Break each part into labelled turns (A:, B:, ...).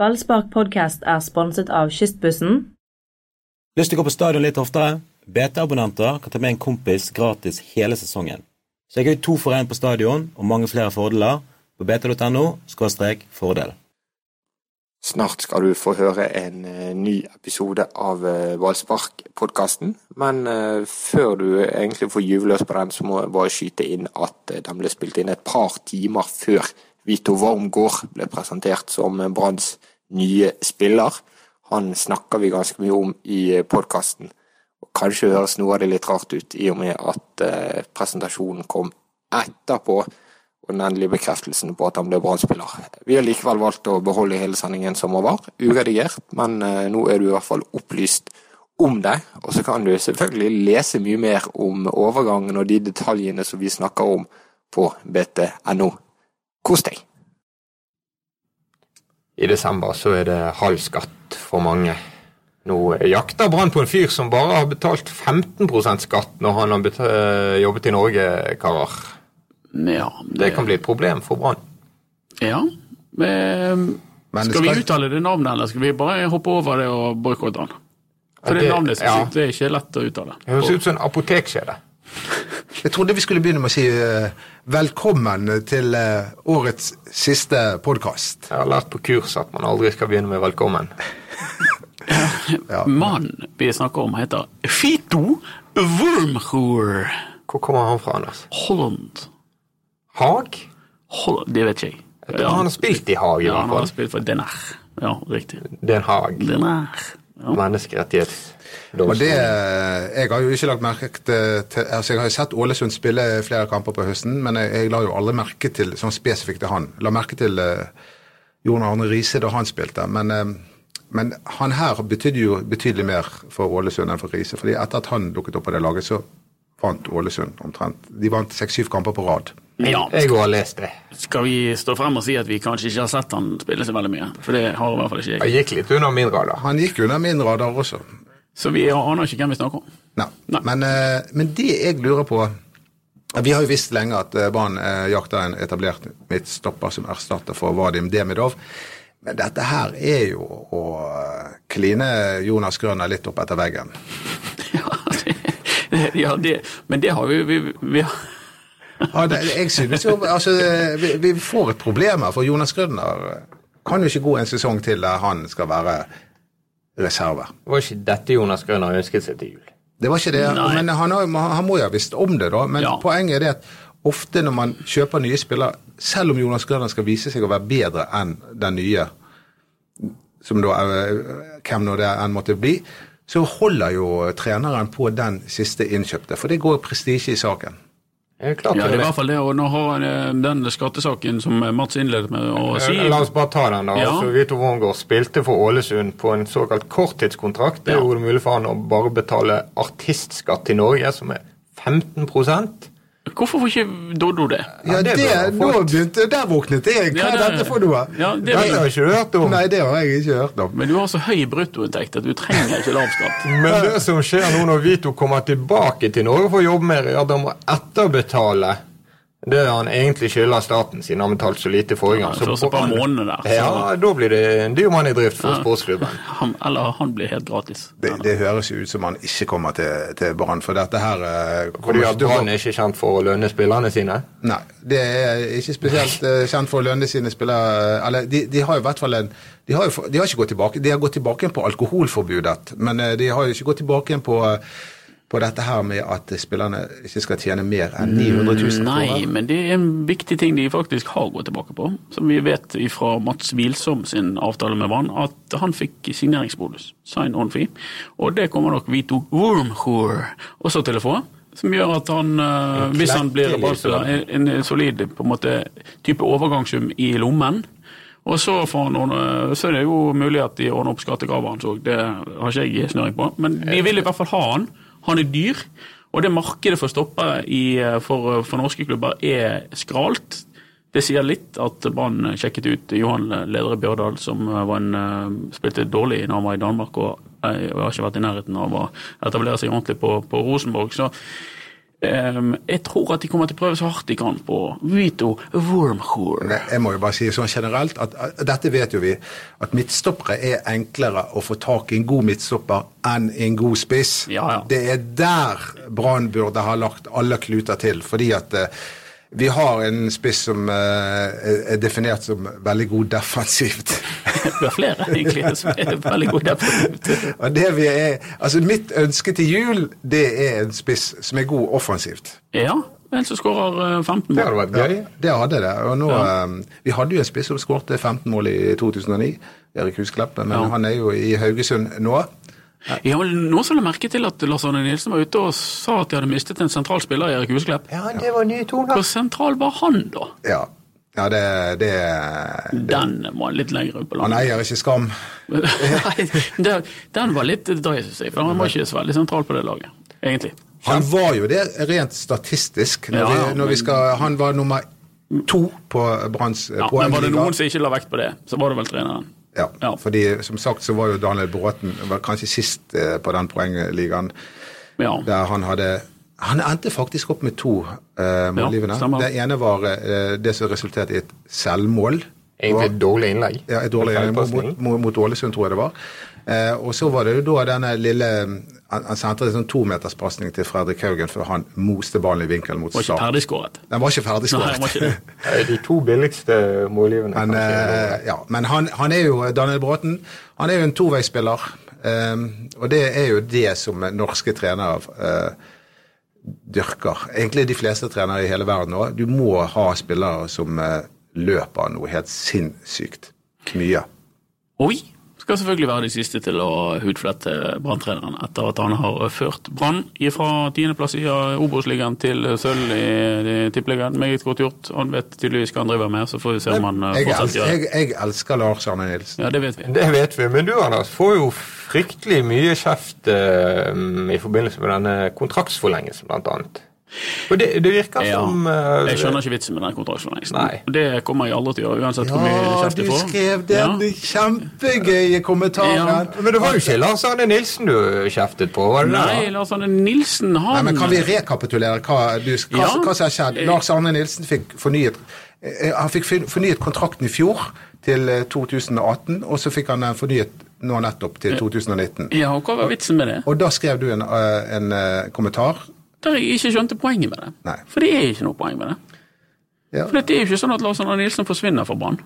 A: Ballspark podcast er sponset av Kystbussen.
B: Lyst til å gå på stadion litt oftere? BT-abonnenter kan ta med en kompis gratis hele sesongen. Sjekk ut to for én på stadion og mange flere fordeler på bt.no fordel.
C: Snart skal du få høre en eh, ny episode av eh, Ballspark-podkasten. Men eh, før du egentlig får gyve løs på den, så må jeg bare skyte inn at eh, den ble spilt inn et par timer før Vito Wormgård ble presentert som eh, Branns nye spiller. Han snakker vi ganske mye om i eh, podkasten. Og Kanskje høres noe av det litt rart ut, i og med at eh, presentasjonen kom etterpå og den endelige bekreftelsen på at han ble Brann-spiller. Vi har likevel valgt å beholde hele sendingen som den var, uredigert, men eh, nå er du i hvert fall opplyst om det. Og så kan du selvfølgelig lese mye mer om overgangen og de detaljene som vi snakker om på bt.no. Kos deg!
D: I desember så er det halv skatt for mange. Nå jakter Brann på en fyr som bare har betalt 15 skatt når han har bet- eh, jobbet i Norge, karer.
E: Ja,
D: Det kan bli et problem for Brann.
E: Ja. ehm,
F: Men
E: skal vi
F: skal-
E: uttale det navnet, eller skal vi bare hoppe over det og boikotte han? For det,
D: Det-
E: navnet som
D: ja.
E: sitter, det er ikke lett å uttale.
D: Det høres ut som en apotekkjede.
F: Jeg trodde vi skulle begynne med å si eh, velkommen til eh, årets siste podkast.
D: Jeg har lært på kurs at man aldri skal begynne med 'velkommen'.
E: Mannen vi snakker om, heter Fito Wormhoor
D: Hvor kommer han fra, Anders?
E: Holland.
D: Haag?
E: Holland. Det vet ikke jeg.
D: Jeg tror han har spilt i Haag, i
E: Ja, han
D: hvert
E: har
D: fall.
E: spilt for DNR. Ja, riktig.
D: Den Haag.
E: DNR. Ja.
F: Og det,
D: Menneskerettighetsdomstol.
F: eh, Jeg har jo ikke lagt merke til til- altså Jeg har jo sett Ålesund spille flere kamper på høsten, men jeg, jeg la jo aldri merke til sånn spesifikt til han. La merke til eh, Jon Arne Riise da han spilte, men, eh, men han her betydde jo betydelig mer for Ålesund enn for Riise. fordi etter at han dukket opp på det laget, så vant Ålesund omtrent. De vant seks-syv kamper på rad.
E: Ja,
D: Jeg har lest det.
E: skal vi stå frem og si at vi kanskje ikke har sett han spille så veldig mye? For det har i hvert fall ikke
D: Jeg
E: jeg.
D: gikk litt under min radar.
F: Han gikk jo under min radar også.
E: Så vi aner ikke hvem vi snakker om.
F: Nei.
E: Nei.
F: Men, eh, men det jeg lurer på Vi har jo visst lenge at eh, Brann eh, jakter en etablert midtstopper som erstatter for Vadim Demidov. Men dette her er jo å eh, kline Jonas Grønner litt opp etter veggen.
E: Ja, det, ja det, men det har vi, vi, vi har-
F: Ja, det, jeg synes jo, altså, eh, vi, vi får et problem her, for Jonas Grønner eh, kan jo ikke gå en sesong til der han skal være reserve.
D: Det var ikke dette Jonas Grønner ønsket seg til jul.
F: Det var ikke det,
E: Nei.
F: men han, har, han må jo ha visst om det, da. Men
E: Ja.
F: poenget er det at ofte når man kjøper nye spillere, selv om Jonas Grønland skal vise seg å være bedre enn den nye, som da, er- hvem nå det enn måtte bli, så holder jo treneren på den siste innkjøpte. For det går prestisje i saken.
D: Er det klart
E: Ja, det
D: det
E: er i
D: er
E: hvert fall det, og nå har han eh, den skattesaken som Mats innledet med å si
D: Eh, La oss bare ta den, da.
E: Ja.
D: Altså, Vito Wormgård spilte for Ålesund på en såkalt korttidskontrakt. Det
E: Ja.
D: gjorde det mulig for han å bare betale artistskatt til Norge, som er 15
E: Hvorfor får ikke Doddo det?
D: Ja,
F: Ja,
D: det
F: det,
D: bør
F: nå
D: man få.
F: begynte, Der våknet jeg! Hva
E: Ja,
F: er
E: det-
F: dette for noe?
E: Ja, det
D: Det har
E: vil,
D: ikke du hørt om.
F: Nei, det har jeg ikke hørt om.
E: men du har så høy bruttoinntekt at du trenger ikke lav skatt.
D: Men det som skjer nå når Vito kommer tilbake til Norge for å jobbe mer, er at han må etterbetale det han egentlig skylder staten, siden han betalte så lite forrige gang.
E: Ja, første par månedene der, så-
D: Ja, da blir det en dyr mann i drift for sportsklubben.
E: Han, eller han blir helt gratis.
F: Det, det høres jo ut som han ikke kommer til, til Brann, for dette her eh, kommer
D: Fordi
F: ikke
D: at
F: til å gå-
D: Brann er ikke kjent for å lønne spillerne sine.
F: Nei, det er ikke spesielt eh, kjent for å lønne sine spillere. eh, Eller de, de har jo i hvert fall en de har, jo, få- de har ikke gått tilbake De har gått tilbake igjen på alkoholforbudet, men eh, de har jo ikke gått tilbake igjen på, eh, på dette her med at eh, spillerne ikke skal tjene mer enn 900 000
E: Nei,
F: kroner.
E: men det er en viktig ting de faktisk har gått tilbake på. Som vi vet fra Mats Wilsom sin avtale med Brann, at han fikk signeringsbonus. Sign on fee. Og det kommer nok Vito Wormhoor også til å få. Som gjør at han, eh,
D: En
E: hvis han
D: klekke,
E: blir
D: liksom.
E: Brann-spiller, er en solid på en måte, type overgangssum i lommen. Og så, får han ordne, så er det jo mulig at de ordner opp skattegraven hans òg, det har ikke jeg snøring på. Men de vil i hvert fall ha han. Han er dyr. Og det markedet for stoppere i, eh, for, for norske klubber er skralt. Det sier litt at Brann sjekket ut Johan Ledere Bjørdal, som var en, eh, spilte dårlig når han var i Danmark og eh, og har ikke vært i nærheten av å etablere seg ordentlig på, på Rosenborg. Så Ehm, jeg tror at de kommer til å prøve så hardt de kan på Vito Wormhore.
F: Men Jeg må jo bare si sånn generelt at, at dette vet jo vi, at midtstoppere er enklere å få tak i en god midtstopper enn en god spiss.
E: Ja, ja.
F: Det er der Brann burde ha lagt alle kluter til, fordi at eh, vi har en spiss som eh, er- er definert som veldig god defensivt.
E: Det er flere egentlig som er veldig gode der.
F: Og det vi er, altså Mitt ønske til jul det er en spiss som er god offensivt.
E: Ja, en som skårer eh, 15
D: Det hadde
E: mål.
D: vært gøy.
F: Det hadde det. Og nå, eh, vi hadde jo en spiss som skåret 15 mål i 2009, Erik Husklepp, men
E: Ja.
F: han er jo i Haugesund nå.
E: Ja, men nå så la jeg merke til at Lars Arne Nilsen var ute og sa at de hadde mistet en sentral spiller, Erik Husklepp.
D: Ja, det var nye toner.
E: Hvor sentral var han, da?
F: Ja, ja det, det
E: Den var litt lenger ut på
F: Han
E: landet.
F: eier ikke skam.
E: Nei, det- den var litt drøy, synes jeg, for han var ikke så veldig sentral på det laget, egentlig.
F: Han var jo det rent statistisk. Når
E: Ja,
F: vi, når
E: men-
F: vi skal, han var nummer to på Branns eh,
E: Ja, men var det
F: poengliga.
E: noen som ikke la vekt på det, så var det vel treneren.
F: Ja,
E: Ja.
F: fordi som sagt så var jo Daniel Bråten var kanskje sist eh, på den poengligaen.
E: Ja,
F: der han hadde Han endte faktisk opp med to uh, målgivende.
E: stemmer.
F: det ene var eh, det som resulterte i et selvmål.
D: Egentlig et dårlig innlegg.
F: Ja, et dårlig
D: En
F: mot,
D: feilpasning.
F: mot, mot Ålesund, tror jeg det var. Eh, og så var det jo da denne lille Han, han sendte en sånn tometerspasning til Fredrik Haugen før han moste ballen i vinkel mot
E: var ikke
F: start.
E: ferdig skåret.
F: Den var ikke ferdig
E: Nei, han var
F: skåret.
E: ikke det.
D: Eh, De to billigste målgiverne.
F: Men,
D: kanskje.
F: eh, ja, men han, han er jo Daniel Bråten. Han er jo en toveisspiller. Eh, og det er jo det som norske trenere eh, dyrker. Egentlig de fleste trenere i hele verden òg. Du må ha spillere som eh, løper noe helt sinnssykt mye.
E: Og vi skal selvfølgelig være de siste til å hudflette Brann-treneren etter at han har ført Brann fra tiendeplass i Obos-ligaen til sølv i Tippeligaen. Meget godt gjort. Han vet tydeligvis hva han driver med, så får vi se om han eh,
F: Jeg, els-
E: fortsetter å gjøre det.
F: jeg, jeg elsker Lars Arne Nilsen.
E: Ja, det vet vi.
D: Det vet vi. Men du, Anders, får jo fryktelig mye kjeft eh, i forbindelse med denne kontraktsforlengelsen, blant annet. Og det, det virker
E: Ja.
D: som eh,
E: Jeg skjønner ikke vitsen med den kontraktsforlengelsen.
D: Nei.
E: Det kommer jeg aldri til å gjøre, uansett hvor mye
F: Ja,
E: kjeft
F: du
E: jeg får.
F: skrev den kjempegøye
E: Ja.
F: kommentaren.
D: Men det var jo ikke Lars Arne Nilsen du kjeftet på, var det
E: Nei,
D: det?
E: Lars Arne Nilsen, han
F: Nei, men Kan vi rekapitulere hva, du, hva,
E: Ja.
F: hva som har skjedd? Lars Arne Nilsen fikk fornyet, eh, han fikk fin- fornyet kontrakten i fjor til eh, 2018, og så fikk han den fornyet nå nettopp til 2019.
E: Ja, og hva var vitsen med det?
F: Og da skrev du en, eh, en eh, kommentar.
E: Der jeg ikke skjønte poenget med det.
F: Nei.
E: For det er ikke noe poeng med det.
F: Ja.
E: For det er jo ikke sånn at Lars Arne Nilsen forsvinner fra Brann.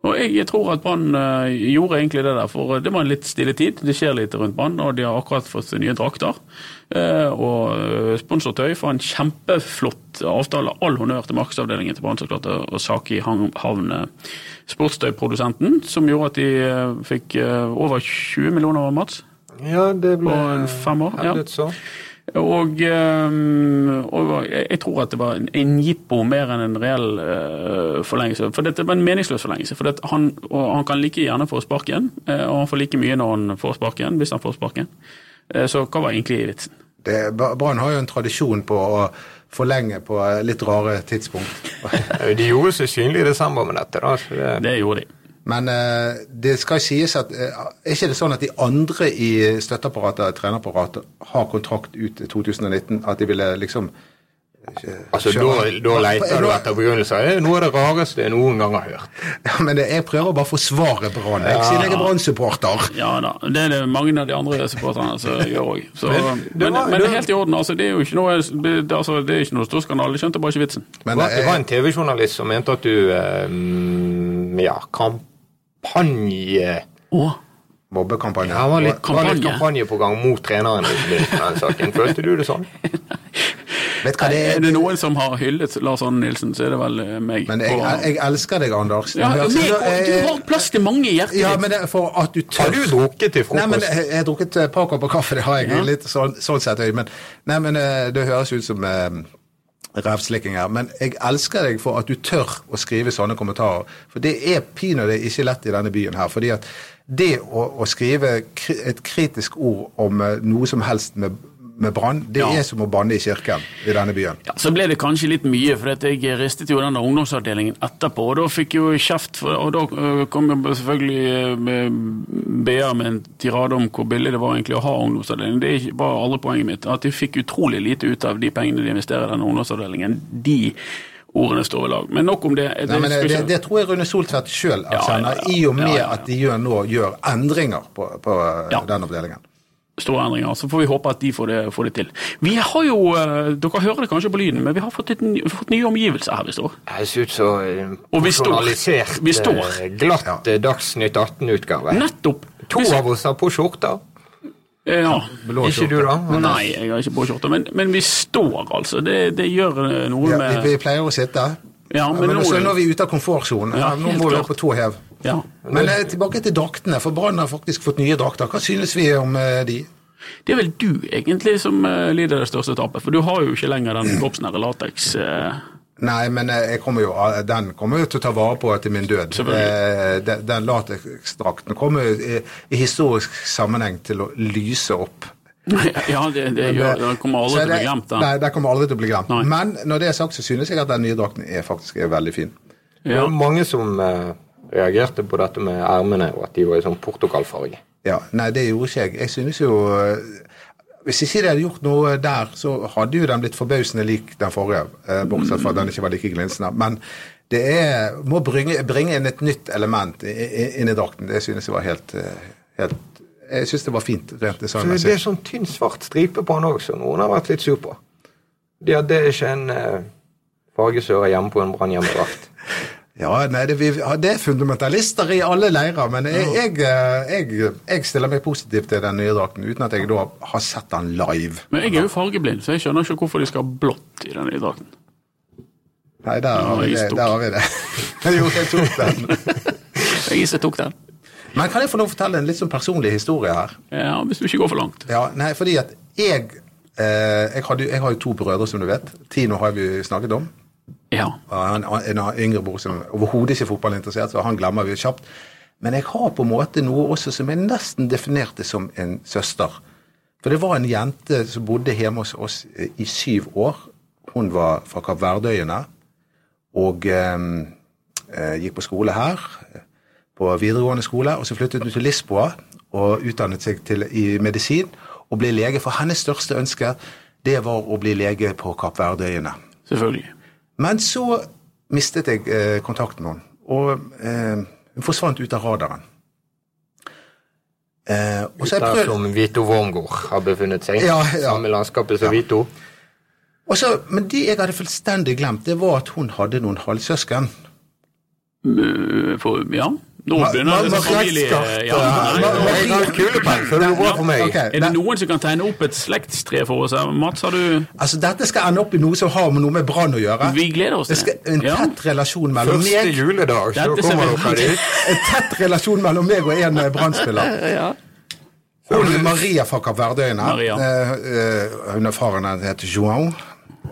E: Og jeg tror at Brann eh, gjorde egentlig det der, for eh, det var en litt stille tid. Det skjer litt rundt Brann, og de har akkurat fått seg nye drakter. Eh, og eh, sponsortøy for en kjempeflott avtale. All honnør til markedsavdelingen til Brann som klarte å- å sake i hang- havn eh, sportstøyprodusenten, som gjorde at de eh, fikk eh, over 20 millioner, Mats.
D: Ja, det ble
E: På en femmer, ja.
D: hevdet så.
E: Og, ehm, og jeg jeg tror at det var en- en jippo mer enn en reell eh, forlengelse. For dette var en meningsløs forlengelse. For det, han, og han kan like gjerne få sparken, eh, og han får like mye når han får sparken, hvis han får sparken. Eh, Så hva var egentlig vitsen?
F: Det- Bra- Brann har jo en tradisjon på å forlenge på eh, litt rare tidspunkt.
D: Eh, De gjorde seg synlige i desember med dette, da. Så det,
E: Det gjorde de.
F: Men eh, det skal sies at eh, er ikke det sånn at de andre i støtteapparatet og trenerapparatet har kontrakt ut til 2019? At de ville liksom
D: altså, da, da leter du etter begrunnelser. Det er noe av det rareste jeg noen gang har hørt.
F: Ja, men det, jeg prøver bare å forsvare Brann, jeg, siden jeg er Brann-supporter.
E: Ja da. Det er det mange av de andre supporterne som gjør òg. Men,
D: Men det
E: men,
D: var-
E: men det er
D: det-
E: helt i orden. altså Det er jo ikke noe, det, altså, det er ikke noe stor skandale. Jeg skjønte bare ikke vitsen.
D: det,
F: Men eh,
D: var, det var
F: jeg,
D: en TV-journalist som mente at du eh, mm, Ja, kampanje
E: Åh,
F: mobbekampanje.
D: Det var litt, var litt
E: Kampanje?
D: kampanje på gang mot treneren i forbindelse med den saken. Følte du det sånn?
F: Vet du hva det
E: Er
F: er?
E: det noen som har hyllet Lars Arne Nilsen, så er det vel eh, meg.
F: Men jeg,
E: Og-
F: jeg elsker deg, Anders.
E: Ja,
F: høres-
E: men, du
F: Eh,
E: har plass til mange i hjertet
F: ja,
E: ditt.
F: men det er for at du
D: Har du
F: tør.
D: drukket til
F: Nei, men
D: frokost?
F: jeg, jeg har drukket et par kopper kaffe, det har jeg.
E: Ja.
F: Litt sånn, sånn sett høy. Men, nei, men eh, det høres ut som eh, revslikking her. Men jeg elsker deg for at du tør å skrive sånne kommentarer. For det er pinadø ikke lett i denne byen her. fordi at det å, å skrive kri et kritisk ord om eh, noe som helst med, med Brann, det
E: Ja.
F: er som å banne i kirken i denne byen.
E: Ja, så ble det kanskje litt mye, for at jeg ristet jo den der ungdomsavdelingen etterpå. Og da fikk jeg jo kjeft, for, og da øh, kom jo selvfølgelig øh, med BA med en tirade om hvor billig det var egentlig å ha ungdomsavdeling. Det er ikke- var aldri poenget mitt. At de fikk utrolig lite ut av de pengene de investerer i den ungdomsavdelingen. De ordene står ved lag. Men nok om det.
F: Nei, men det,
E: skal
F: det,
E: ikke-
F: det tror jeg Rune Soltvedt sjøl
E: Ja,
F: erkjenner,
E: ja, ja.
F: i og med
E: Ja, ja, ja.
F: at de gjør, nå gjør endringer på, på eh,
E: Ja.
F: den avdelingen.
E: store endringer. Så får vi håpe at de får det, får det til. Vi har jo, eh, Dere hører det kanskje på lyden, men vi har fått, et, ny- fått nye omgivelser her vi står.
D: Det høres ut som en
E: Og vi står.
D: personalisert,
E: Vi står.
D: eh, glatt eh, Dagsnytt 18-utgave.
E: Nettopp!
D: To
E: Hvis-
D: av oss har på skjorter.
E: eh, Ja.
F: Blå
D: Ikke du, da? Anders?
E: Nei, jeg har ikke på skjorte, men, men vi står, altså. Det, det gjør eh, noe
F: Ja, vi,
E: med
F: vi pleier å sitte.
E: Ja,
F: Ja,
E: men
F: men
E: nå-
F: så nå er vi ute av komfortsonen.
E: Ja,
F: Ja, nå
E: helt
F: må vi
E: klart.
F: opp på to hev.
E: ja.
F: Men eh, tilbake til draktene, for Brann har faktisk fått nye drakter. Hva synes vi om eh, de?
E: Det er vel du egentlig som eh, lider det største tapet, for du har jo ikke lenger den kroppsnære lateks... eh,
F: Nei, men eh, jeg kommer jo, eh, den kommer jo til å ta vare på til min død. Eh,
E: Selvfølgelig.
F: den den lateksdrakten kommer jo i, i historisk sammenheng til å lyse opp.
E: Ja, det, det gjør, den kommer aldri til
F: Så
E: å
F: det-
E: bli glemt,
F: Nei,
E: den.
F: den kommer aldri til å bli glemt.
E: Nei.
F: Men når det er sagt, så synes jeg at den nye drakten er faktisk er veldig fin.
D: Det
E: Ja.
D: var mange som eh, reagerte på dette med ermene, og at de var i sånn portugalfarge.
F: Ja, Nei, det gjorde ikke jeg. Jeg synes jo eh, Hvis ikke de hadde gjort noe der, så hadde jo den blitt forbausende lik den forrige, eh, bortsett fra at den ikke var like glinsende. Men det er, må bringe, bringe inn et nytt element i- i- inn i drakten. Det synes jeg var helt, eh, helt Jeg synes det var fint, rent
D: Så det er
F: designmessig.
D: sånn tynn svart stripe på han òg, som noen har vært litt sur på. De hadde ikke en eh, fargesører hjemme på en brannhjemmedrakt.
F: Ja, nei, det, vi, ja, det er fundamentalister i alle leirer, men jeg, jeg, eh, jeg, jeg stiller meg positiv til den nye drakten, uten at jeg da har sett den live.
E: Men jeg er jo fargeblind, så jeg skjønner ikke hvorfor de skal ha blått i denne drakten.
F: Nei, der har vi
E: jeg
F: det.
E: tok.
F: Der har vi det. jo, jeg tok den.
E: Jeg gis jeg tok den.
F: Men kan jeg få lov å fortelle en litt sånn personlig historie her?
E: Ja, hvis du ikke går for langt.
F: Ja, nei, fordi at jeg eh, jeg, hadde, jo- jeg har jo to brødre, som du vet. Tino har vi jo snakket om.
E: Ja.
F: Og han- En av yngre bror som overhodet ikke er fotballinteressert, så han glemmer vi jo kjapt. Men jeg har på en måte noe også som jeg nesten definerte som en søster. For det var en jente som bodde hjemme hos oss eh, i syv år. Hun var fra Kapp Verdøyene og eh, eh, gikk på skole her, eh, på videregående skole, og så flyttet hun til Lisboa og utdannet seg til, i medisin og ble lege. For hennes største ønske, det var å bli lege på Kapp Verdøyene.
E: Selvfølgelig.
F: Men så mistet jeg eh, kontakten med henne, og eh, hun forsvant ut av radaren. Eh, og så har jeg
D: Der
F: prøvd
D: som Vito Wormgård har befunnet seg.
F: Ja, ja.
D: Samme landskapet som Vito.
F: og så- Men det jeg hadde fullstendig glemt, det var at hun hadde noen halvsøsken.
E: Eh, For, ja. Nå begynner det
F: ma-
E: som familie...
D: Slektsskart,
E: Ja,
D: eh,
E: nei,
F: ma-
E: nå-
F: ma-
D: Jeg har kulepenn, så det går bra for meg.
F: Ok,
E: er det
F: ne-
E: noen som kan tegne opp et slektstre for oss? her? Mats, har du
F: altså Dette skal ende opp i noe som har med noe med brann å gjøre.
E: Vi gleder oss til
F: det. skal,
E: det.
F: en
E: Ja.
F: tett relasjon mellom
D: Første
F: meg
D: juledag, så
E: Dette ser
D: kommer
E: vi fram
D: dere
E: til.
D: dit.
F: en tett relasjon mellom meg og en eh, brannspiller. Hun Maria fra Kapp Verdøyene.
E: Maria.
F: Eh, eh, hun er faren hennes heter Joao.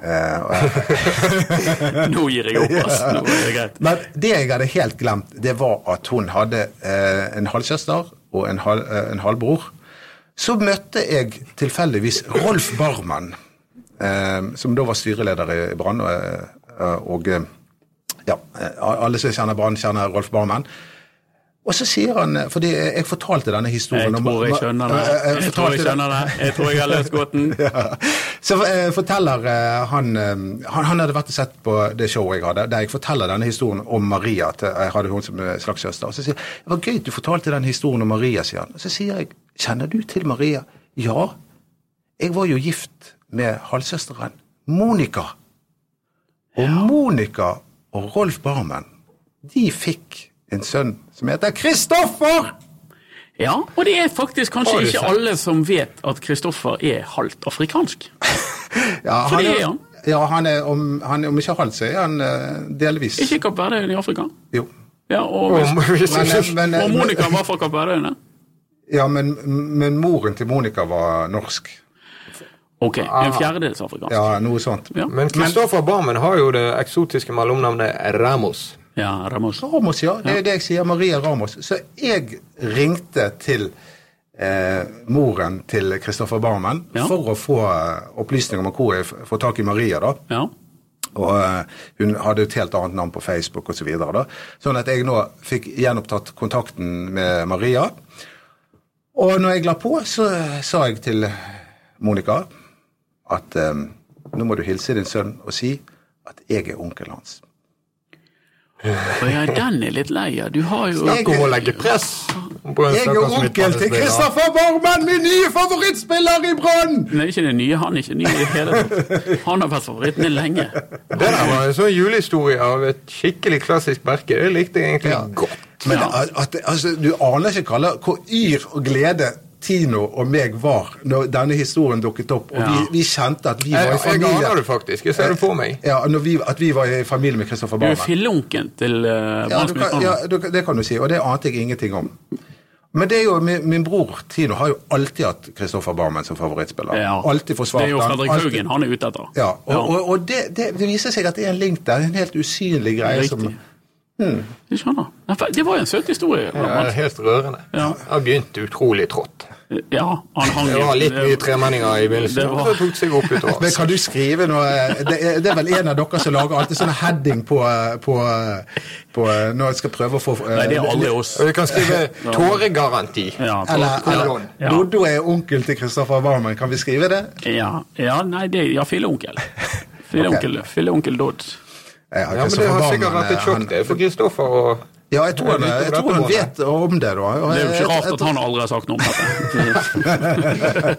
F: Eh, og-
E: Nå gir jeg opp, ass. Nå er det greit.
F: Men det jeg hadde helt glemt, det var at hun hadde eh, en halvsøster og en, hal, eh, en halvbror. Så møtte jeg tilfeldigvis Rolf Barmann, eh, som da var styreleder i Brann. Og, eh, og eh, ja, eh, alle som kjenner Brann, kjenner Rolf Barmann. Og så sier han, eh, fordi jeg fortalte denne historien
E: Jeg
F: om-
E: tror jeg skjønner det.
F: Eh, eh,
E: Jeg tror jeg
F: fortalte den-
E: skjønner det. Jeg tror jeg har løst gåten.
F: så eh, forteller eh, han, eh, han Han hadde vært og sett på det showet jeg hadde, der jeg forteller denne historien om Maria. Til, jeg hadde hun som eh, slags søster. Og så sier jeg, det var gøy at du fortalte den historien om Maria, sier han. Og så sier jeg, kjenner du til Maria? Ja, jeg var jo gift med halvsøsteren Monica. Og Monica og Rolf Barmen, de fikk en sønn som heter Kristoffer!
E: Ja, og det er faktisk kanskje
D: Har du
E: ikke
D: sett?
E: alle som vet at Kristoffer er halvt afrikansk.
F: Ja,
E: For det
F: er-
E: er han.
F: Ja, han er, om, han, er- om ikke halvt, så er han eh, delvis.
E: Ikke Kapp Verdøyene i Afrika.
F: Jo.
E: Ja, og,
D: Om- hvis-
F: Men, men,
E: og Monica var fra Kapp Verdøyene.
F: Ja, men, men moren til Monica var norsk.
E: Ok, en fjerdedels afrikansk.
F: Ja, noe sånt.
E: Ja.
D: Ah. Men Kristoffer Barmen har jo det eksotiske mellomnavnet Ramos.
E: Ja, Ramos.
F: Ramos, ja. Det er jo det jeg sier. Maria Ramos. Så jeg ringte til eh, moren til Kristoffer Barmen
E: Ja.
F: for å få eh, opplysninger om hvor jeg f- får tak i Maria. da.
E: Ja.
F: Og eh, hun hadde et helt annet navn på Facebook osv. Så videre, da. sånn at jeg nå fikk gjenopptatt kontakten med Maria. Og når jeg la på, så eh, sa jeg til Monica at eh, nå må du hilse din sønn og si at jeg er onkelen hans.
E: Å ja, den er litt lei av. Du har jo
D: Snakk om å legge press. på en
F: Jeg er
D: stakkars
F: onkel til
D: midtbanespiller.
F: Kristoffer Bormann, min nye favorittspiller i Brann!
E: Nei, ikke den nye. Han er ikke ny i det hele tatt. Han har vært favoritten din lenge.
D: Det der var en sånn julehistorie av et skikkelig klassisk merke. Det likte jeg egentlig
F: Ja.
D: godt.
F: Men
E: Ja.
F: at, at, altså, du aner ikke Kalle, hvor yr og glede Tino og meg var når denne historien dukket opp, og
E: Ja.
F: vi, vi kjente at vi
D: Jeg,
F: var i
D: jeg aner
F: familie.
D: det faktisk. Jeg ser det for meg.
F: Ja, når vi, at vi var i familie med Kristoffer
E: Du er
F: Barmen.
E: filleonken til uh,
F: Ja, du kan, ja du, kan- det kan du si, og det ante jeg ingenting om. Men det er jo, min, min bror Tino har jo alltid hatt Kristoffer Barmen som favorittspiller. Alltid forsvart
E: Det er jo
F: han,
E: Fredrik
F: alltid-
E: Haugen han er ute etter.
F: Ja, og, og, og det, det, det viser seg at det er en link der, en helt usynlig greie
E: Riktig.
F: som
E: Jeg skjønner. Nei, for Det var jo en søt historie.
D: Det er helt rørende.
E: Ja.
D: Det har begynt utrolig trått.
E: Ja, han hang
D: Det var litt mye tremenninger i begynnelsen.
E: Det var-
D: Så tok det seg opp utover.
F: Men kan du skrive noe Det er, det er vel en av dere som lager alltid sånne heading på, på, på Når jeg skal prøve å få eh,
E: Nei, det er aldri oss.
D: Og vi kan skrive tåregaranti.
E: Ja, tror-
F: Eller, eller
E: Ja.
F: Doddo er onkel til Kristoffer Barmen, kan vi skrive det?
E: ja, ja, nei, det er ja, filleonkel. Filleonkel filleonkel Dodd.
F: Ja,
D: Ja, men Det har sikkert vært et sjokk det for Kristoffer. og...
F: Ja, jeg tror han, jeg tror han vet om det, da.
E: Det er jo ikke rart at han aldri har sagt noe om dette.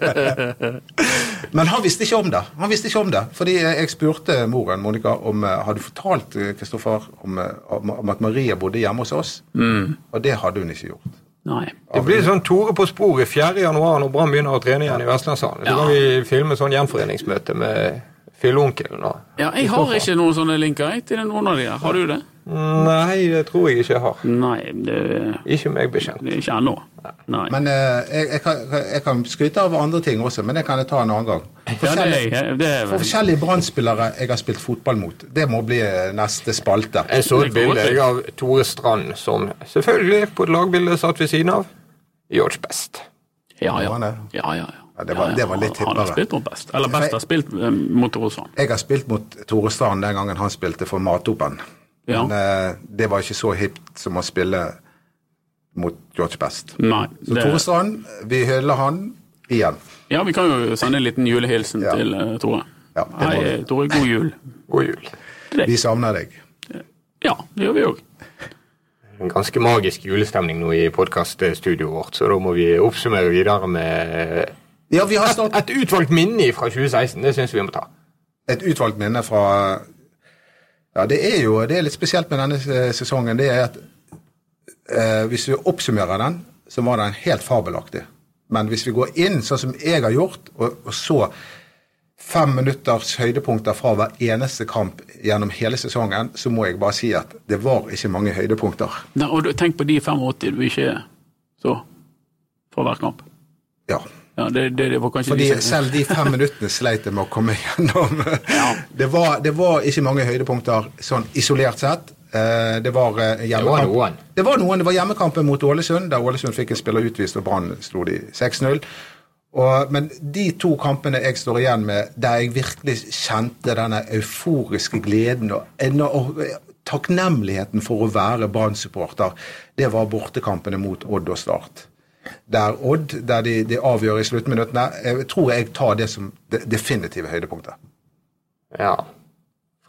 F: Men han visste ikke om det. Han visste ikke om det. Fordi jeg spurte moren Monica om eh, Har du fortalt eh, Kristoffer om, eh, om, om at Maria bodde hjemme hos oss.
E: Mm.
F: Og det hadde hun ikke gjort.
E: Nei.
D: Det blir sånn Tore på sporet 4. januar når Brann begynner å trene igjen i Vestlandshallen. Så
E: Ja.
D: kan vi filme sånn gjenforeningsmøte med filleonkelen. og-
E: Ja, jeg har ikke noen sånne linker jeg, til noen av de der. Har du det?
D: Nei, det tror jeg ikke jeg har.
E: Nei, det,
D: Ikke meg bekjent.
E: det er ikke ennå. Nei.
F: Men eh, jeg, jeg, kan, jeg kan skryte av andre ting også, men det kan jeg ta en annen gang.
E: Ja, det er,
F: Forskjellige,
E: jeg- det er
F: forskjellige brannspillere jeg har spilt fotball mot. Det må bli eh, neste spalte.
D: Jeg så et
E: Det er
D: bilde
E: korrekt.
D: jeg, av Tore Strand, som selvfølgelig på et lagbilde satt ved siden av George Best.
E: Ja,
F: Var
E: ja.
F: han det?
E: ja, ja, ja.
F: Ja, det var-
E: Ja, ja,
F: det var litt
E: Han har
F: hippere.
E: spilt mot Best. Eller Best har spilt eh, mot Rosan.
F: Jeg har spilt mot Tore Strand den gangen han spilte for Matopen.
E: Ja.
F: Men eh, det var ikke så hipt som å spille mot George Best.
E: Nei.
F: Så
E: Det,
F: Tore Strand, vi hyller han igjen.
E: ja, vi kan jo sende en liten julehilsen
F: Ja.
E: til eh, Tore.
F: Ja, det må
E: Hei,
F: vi.
E: eh, Tore. God jul.
D: God jul.
F: Vi savner deg.
E: Ja, det gjør vi òg.
D: En ganske magisk julestemning nå i podkaststudioet vårt, så da må vi oppsummere videre med
F: Ja, vi har snart
D: et utvalgt minne fra 2016. Det syns vi må ta.
F: et utvalgt minne fra Ja, det er jo det er litt spesielt med denne eh, sesongen. Det er at eh, hvis vi oppsummerer den, så var den helt fabelaktig. Men hvis vi går inn sånn som jeg har gjort, og, og så fem minutters høydepunkter fra hver eneste kamp gjennom hele sesongen, så må jeg bare si at det var ikke mange høydepunkter.
E: Nei, Og du- tenk på de 85 du ikke så for hver kamp.
F: Ja.
E: Ja, det, det, det var kanskje
F: Fordi
E: de som-
F: selv de fem minuttene sleit jeg med å komme gjennom. Det var, det var ikke mange høydepunkter sånn isolert sett. Eh, Det var, eh,
D: Det
F: hjemmekamp-
D: var noen.
F: Det var noen. Det var hjemmekampen mot Ålesund, der Ålesund fikk en spiller utvist, og Brann slo de 6-0. Og, men de to kampene jeg står igjen med, der jeg virkelig kjente denne euforiske gleden og, ennå- og takknemligheten for å være Brann-supporter, det var bortekampene mot Odd og Start. Der Odd, der de, de avgjør i sluttminuttene, jeg tror jeg tar det som det definitive høydepunktet.
D: Ja.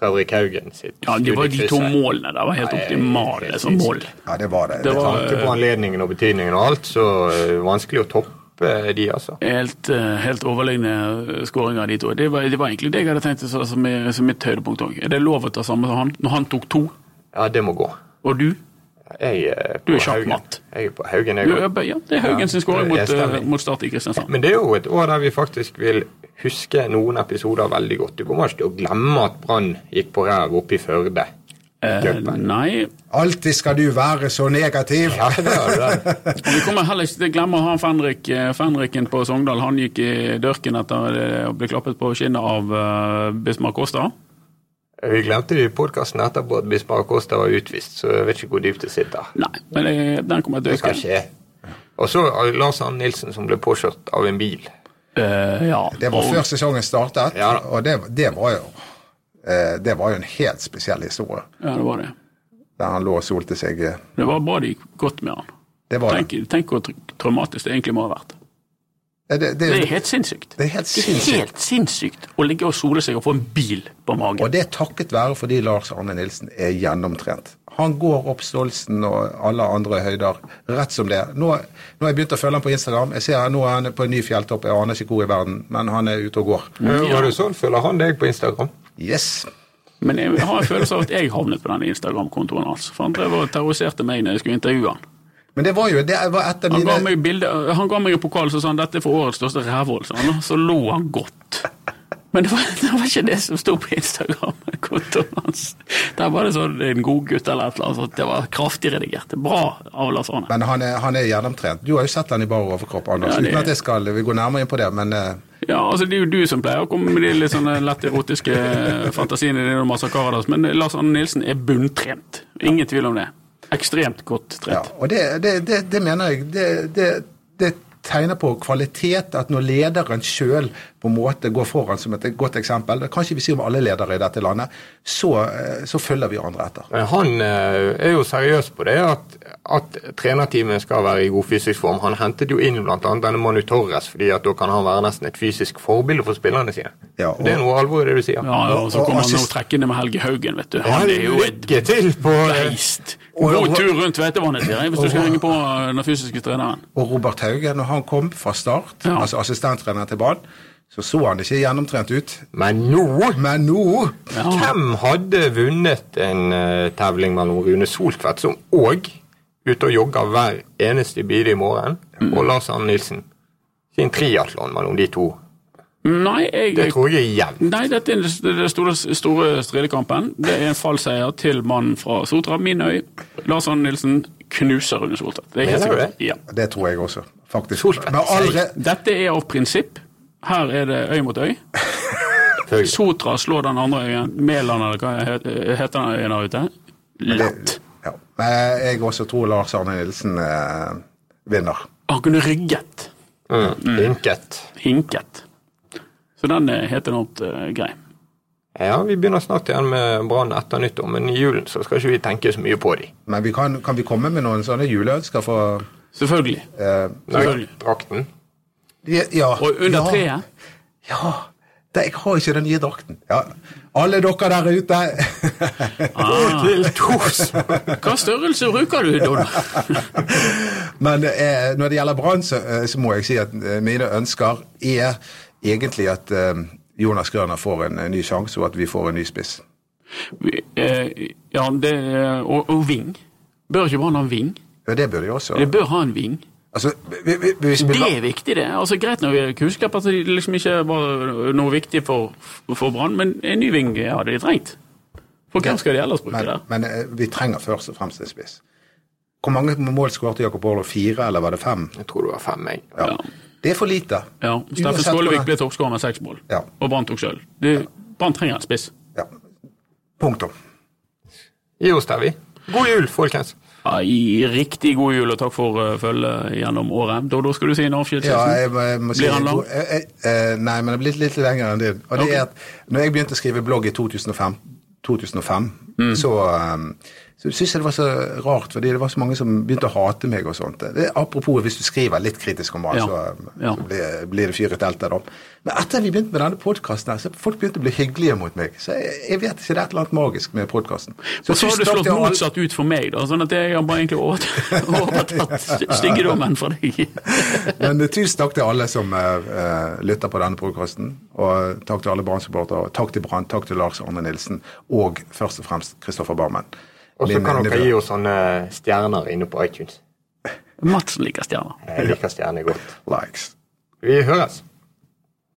D: Fredrik Haugen sitt
E: Ja, det var de to
D: studiekrysset.
E: målene der var helt
D: Nei,
E: optimale som
D: helt
E: mål.
F: Ja, det var det.
E: Det var-
D: Tanke på anledningen og betydningen og alt, så eh, vanskelig å toppe eh, de, altså.
E: Helt, eh, helt overlegne eh, skåringer, de to. Det var, det var egentlig det jeg hadde tenkt så- som, er- som mitt høydepunkt òg. Er det lov å ta samme som han? Når han tok to,
D: Ja, det må gå.
E: og du?
D: Jeg eh, på
E: Du er
D: Haugen.
E: sjakkmatt.
D: Jeg er på Haugen, jeg
E: Du,
D: òg.
E: ja, det er Haugen sin
D: Ja,
E: skåring
D: det
E: mot,
D: er
E: eh,
D: stemning.
E: mot Start i Kristiansand.
D: Men det er jo et år der vi faktisk vil huske noen episoder veldig godt. Du kommer ikke til å glemme at Brann gikk på ræv oppe i Førde.
E: Eh, nei,
F: Alltid skal du være så negativ!
D: Ja, det er det.
E: og vi kommer heller ikke til å glemme han Fenrik, eh, Fenriken på Sogndal. Han gikk i dørken etter eh, å bli klappet på kinnet av eh, Bismar Kosta.
D: Vi glemte det i podkasten etterpå at Bismar Acosta var utvist, så jeg vet ikke hvor dypt det sitter.
E: Nei, men eh, den kommer jeg til
D: Det
E: å
D: skal
E: huske.
D: skje. Og så eh, Lars Arne Nilsen som ble påkjørt av en bil.
E: Eh, ja.
F: Det var
E: og-
F: før sesongen startet,
D: Ja da.
F: og det, det var jo eh, Det var jo en helt spesiell historie,
E: Ja, det var det.
F: der han lå og solte seg. eh,
E: Det var bra det gikk godt med han.
F: Det var det.
E: Tenk, tenk hvor tra- traumatisk det egentlig må ha vært.
F: Det, det,
E: Det
F: det,
E: er helt sinnssykt.
F: det er helt sinnssykt.
E: Helt sinnssykt å ligge og sole seg og få en bil på magen.
F: Og det er takket være fordi Lars Arne Nilsen er gjennomtrent. Han går opp Stoltsen og alle andre høyder rett som det er. Nå, nå har jeg begynt å følge han på Instagram. Jeg ser han- Nå er han på en ny fjelltopp. Jeg aner ikke hvor i verden, men han er ute og går.
E: Mm.
D: Eh, Var det sånn? Følger han deg på Instagram?
F: Yes!
E: Men jeg har en følelse av at jeg havnet på den Instagram-kontoen hans. For han drev og terroriserte meg når jeg skulle intervjue han.
F: Men det var jo det var et av
E: Han ga
F: mine
E: meg, bilde, han ga meg en pokal og sa han, dette er for årets største rævhold, sa han, og så lo han godt. Men det var, det var ikke det som sto på Instagram-kontoen hans. Der var det sånn en god gutt eller et eller annet. sånt. Det var kraftig redigert. Bra av Lars Arne.
F: Men han er, han er gjennomtrent. Du har jo sett han i bar overkropp, Anders.
E: Ja, det-
F: Uten at jeg skal vi går nærmere inn på det, men eh,
E: Ja, altså Det er jo du som pleier å komme med de litt sånne lett erotiske eh, fantasiene dine om Asa Karadas, men eh, Lars Arne Nilsen er bunntrent. Ingen tvil om det. Ekstremt godt
F: ja.
E: trent.
F: Og det, det, det, det mener jeg det, det, det tegner på kvalitet at når lederen sjøl på en måte går foran som et godt eksempel, det kan ikke vi si om alle ledere i dette landet, så, eh, så følger vi andre etter.
D: Men han eh, er jo seriøs på det, at, at trenerteamet skal være i god fysisk form. Han hentet jo inn bl.a. denne Manu Torres, fordi at da kan han være nesten et fysisk forbilde for spillerne sine.
F: Ja,
D: Så det er noe alvor i det du sier.
E: Ja, ja, og så
F: Og- og
E: kommer han nå
F: assist-
E: trekkende med Helge Haugen, vet du. Han er jo et
D: Lykke til på
E: beist.
F: Og-
E: God tur rundt Tvetevannet, sier jeg, hvis du skal henge på eh, den fysiske treneren.
F: Og Robert Haugen, når han kom fra start,
E: Ja.
F: altså assistenttrener til Brann, så så han ikke gjennomtrent ut.
D: Men nå
F: Men nå
E: Ja.
D: Hvem hadde vunnet en eh, tevling mellom Rune Soltvedt, som òg ute og jogger hver eneste bide i morgen, og Lars Arne Nilsen? Sin triatlon mellom de to.
E: Nei, jeg,
D: Det tror jeg er jevnt.
E: Nei, dette er den den store, store stridekampen. Det er en fallseier til mannen fra Sotra, Minøy. Lars Arne Nilsen knuser Rune Soltvedt. Det er helt
D: Mener du
E: sikkert.
D: det?
E: Ja.
F: Det tror jeg også, faktisk.
D: Solberg.
F: Men allerede,
E: Dette er av prinsipp. Her er det øy mot øy.
D: Selvfølgelig.
E: Sotra slår den andre øyen. Mæland, eller hva he- heter den øyen der ute? Lett.
F: ja. Men jeg også tror Lars Arne Nilsen eh, vinner.
E: Han kunne rygget.
D: Mm. Linket.
E: Hinket. Så den er helt enormt eh, grei.
D: Ja, vi begynner snart igjen med Brann etter nyttår, men i julen så skal ikke vi tenke så mye på de.
F: Men vi kan, kan vi komme med noen sånne juleønsker for
E: Selvfølgelig.
F: eh,
D: Nei,
E: Selvfølgelig.
D: drakten.
F: ja, ja.
E: Og under treet
F: Ja. Det, jeg har ikke den nye drakten. Ja. Alle dere der ute
E: ah,
D: Til Tors.
E: Hva størrelse bruker du, Donald?
F: Men eh, når det gjelder Brann, så, eh, så må jeg si at eh, mine ønsker er egentlig at eh, Jonas Grønner får en, eh, ny sjanse, og at vi får en ny spiss.
E: Vi- eh, Ja, det, og, og ving. Bør ikke Brann ha en ving?
F: Ja, det burde de også.
E: Det bør ha en ving.
F: Altså, vi, vi, vi
E: Det
F: spiller...
E: er viktig, det. Altså, greit når vi husker at det liksom ikke var noe viktig for, for Brann, men en ny ving hadde de trengt. For hvem skal de ellers bruke
F: Men,
E: der?
F: men eh, vi trenger først og fremst en spiss. Hvor mange mål skåret Jakob Aarlo? Fire, eller var det fem?
D: Jeg tror det var fem, jeg.
F: Ja.
E: Ja.
F: Det er for lite.
E: Ja, Steffen
F: Uansett hvor
E: Skålevik
F: det-
E: ble toppskårer med seks mål,
F: Ja.
E: og Brann tok sølv. Det- Brann trenger en spiss.
F: ja. Punktum.
D: Gi oss der, vi. God jul, folkens.
E: Ja, i riktig god jul, og takk for uh, følget gjennom året. Da, da skal du si en
F: Ja,
E: avskjedshilsen.
F: jeg, må- jeg må si,
E: Blir han lang?
F: Jeg, jeg, eh, nei, men det er blitt litt lenger enn din. Og det
E: Ok.
F: er at når jeg begynte å skrive blogg i 2005, 2005
E: Mm.
F: så, eh, så syntes jeg det var så rart, fordi det var så mange som begynte å hate meg og sånt. Det, er apropos hvis du skriver litt kritisk om meg,
E: Ja.
F: så, eh,
E: Ja.
F: så blir, blir det fyr i teltet da. Men etter vi begynte med denne podkasten, så folk begynte å bli hyggelige mot meg. Så jeg, jeg vet ikke, det er et eller annet magisk med podkasten.
E: Og så har du slått motsatt ut for meg, da, sånn at jeg har bare egentlig overtatt, overtatt styggedommen fra deg.
F: Men eh, tusen takk til alle som eh, eh, lytter på denne podkasten. Og takk til alle Brann-supportere. og Takk til Brann, takk til Lars Arne Nilsen. Og først og fremst Kristoffer Barmen.
D: Og så
F: Min
D: kan dere
F: nevø.
D: gi oss sånne stjerner inne på iTunes.
E: Madsen liker stjerner.
D: Jeg liker stjerner godt.
F: Likes.
D: Vi høres.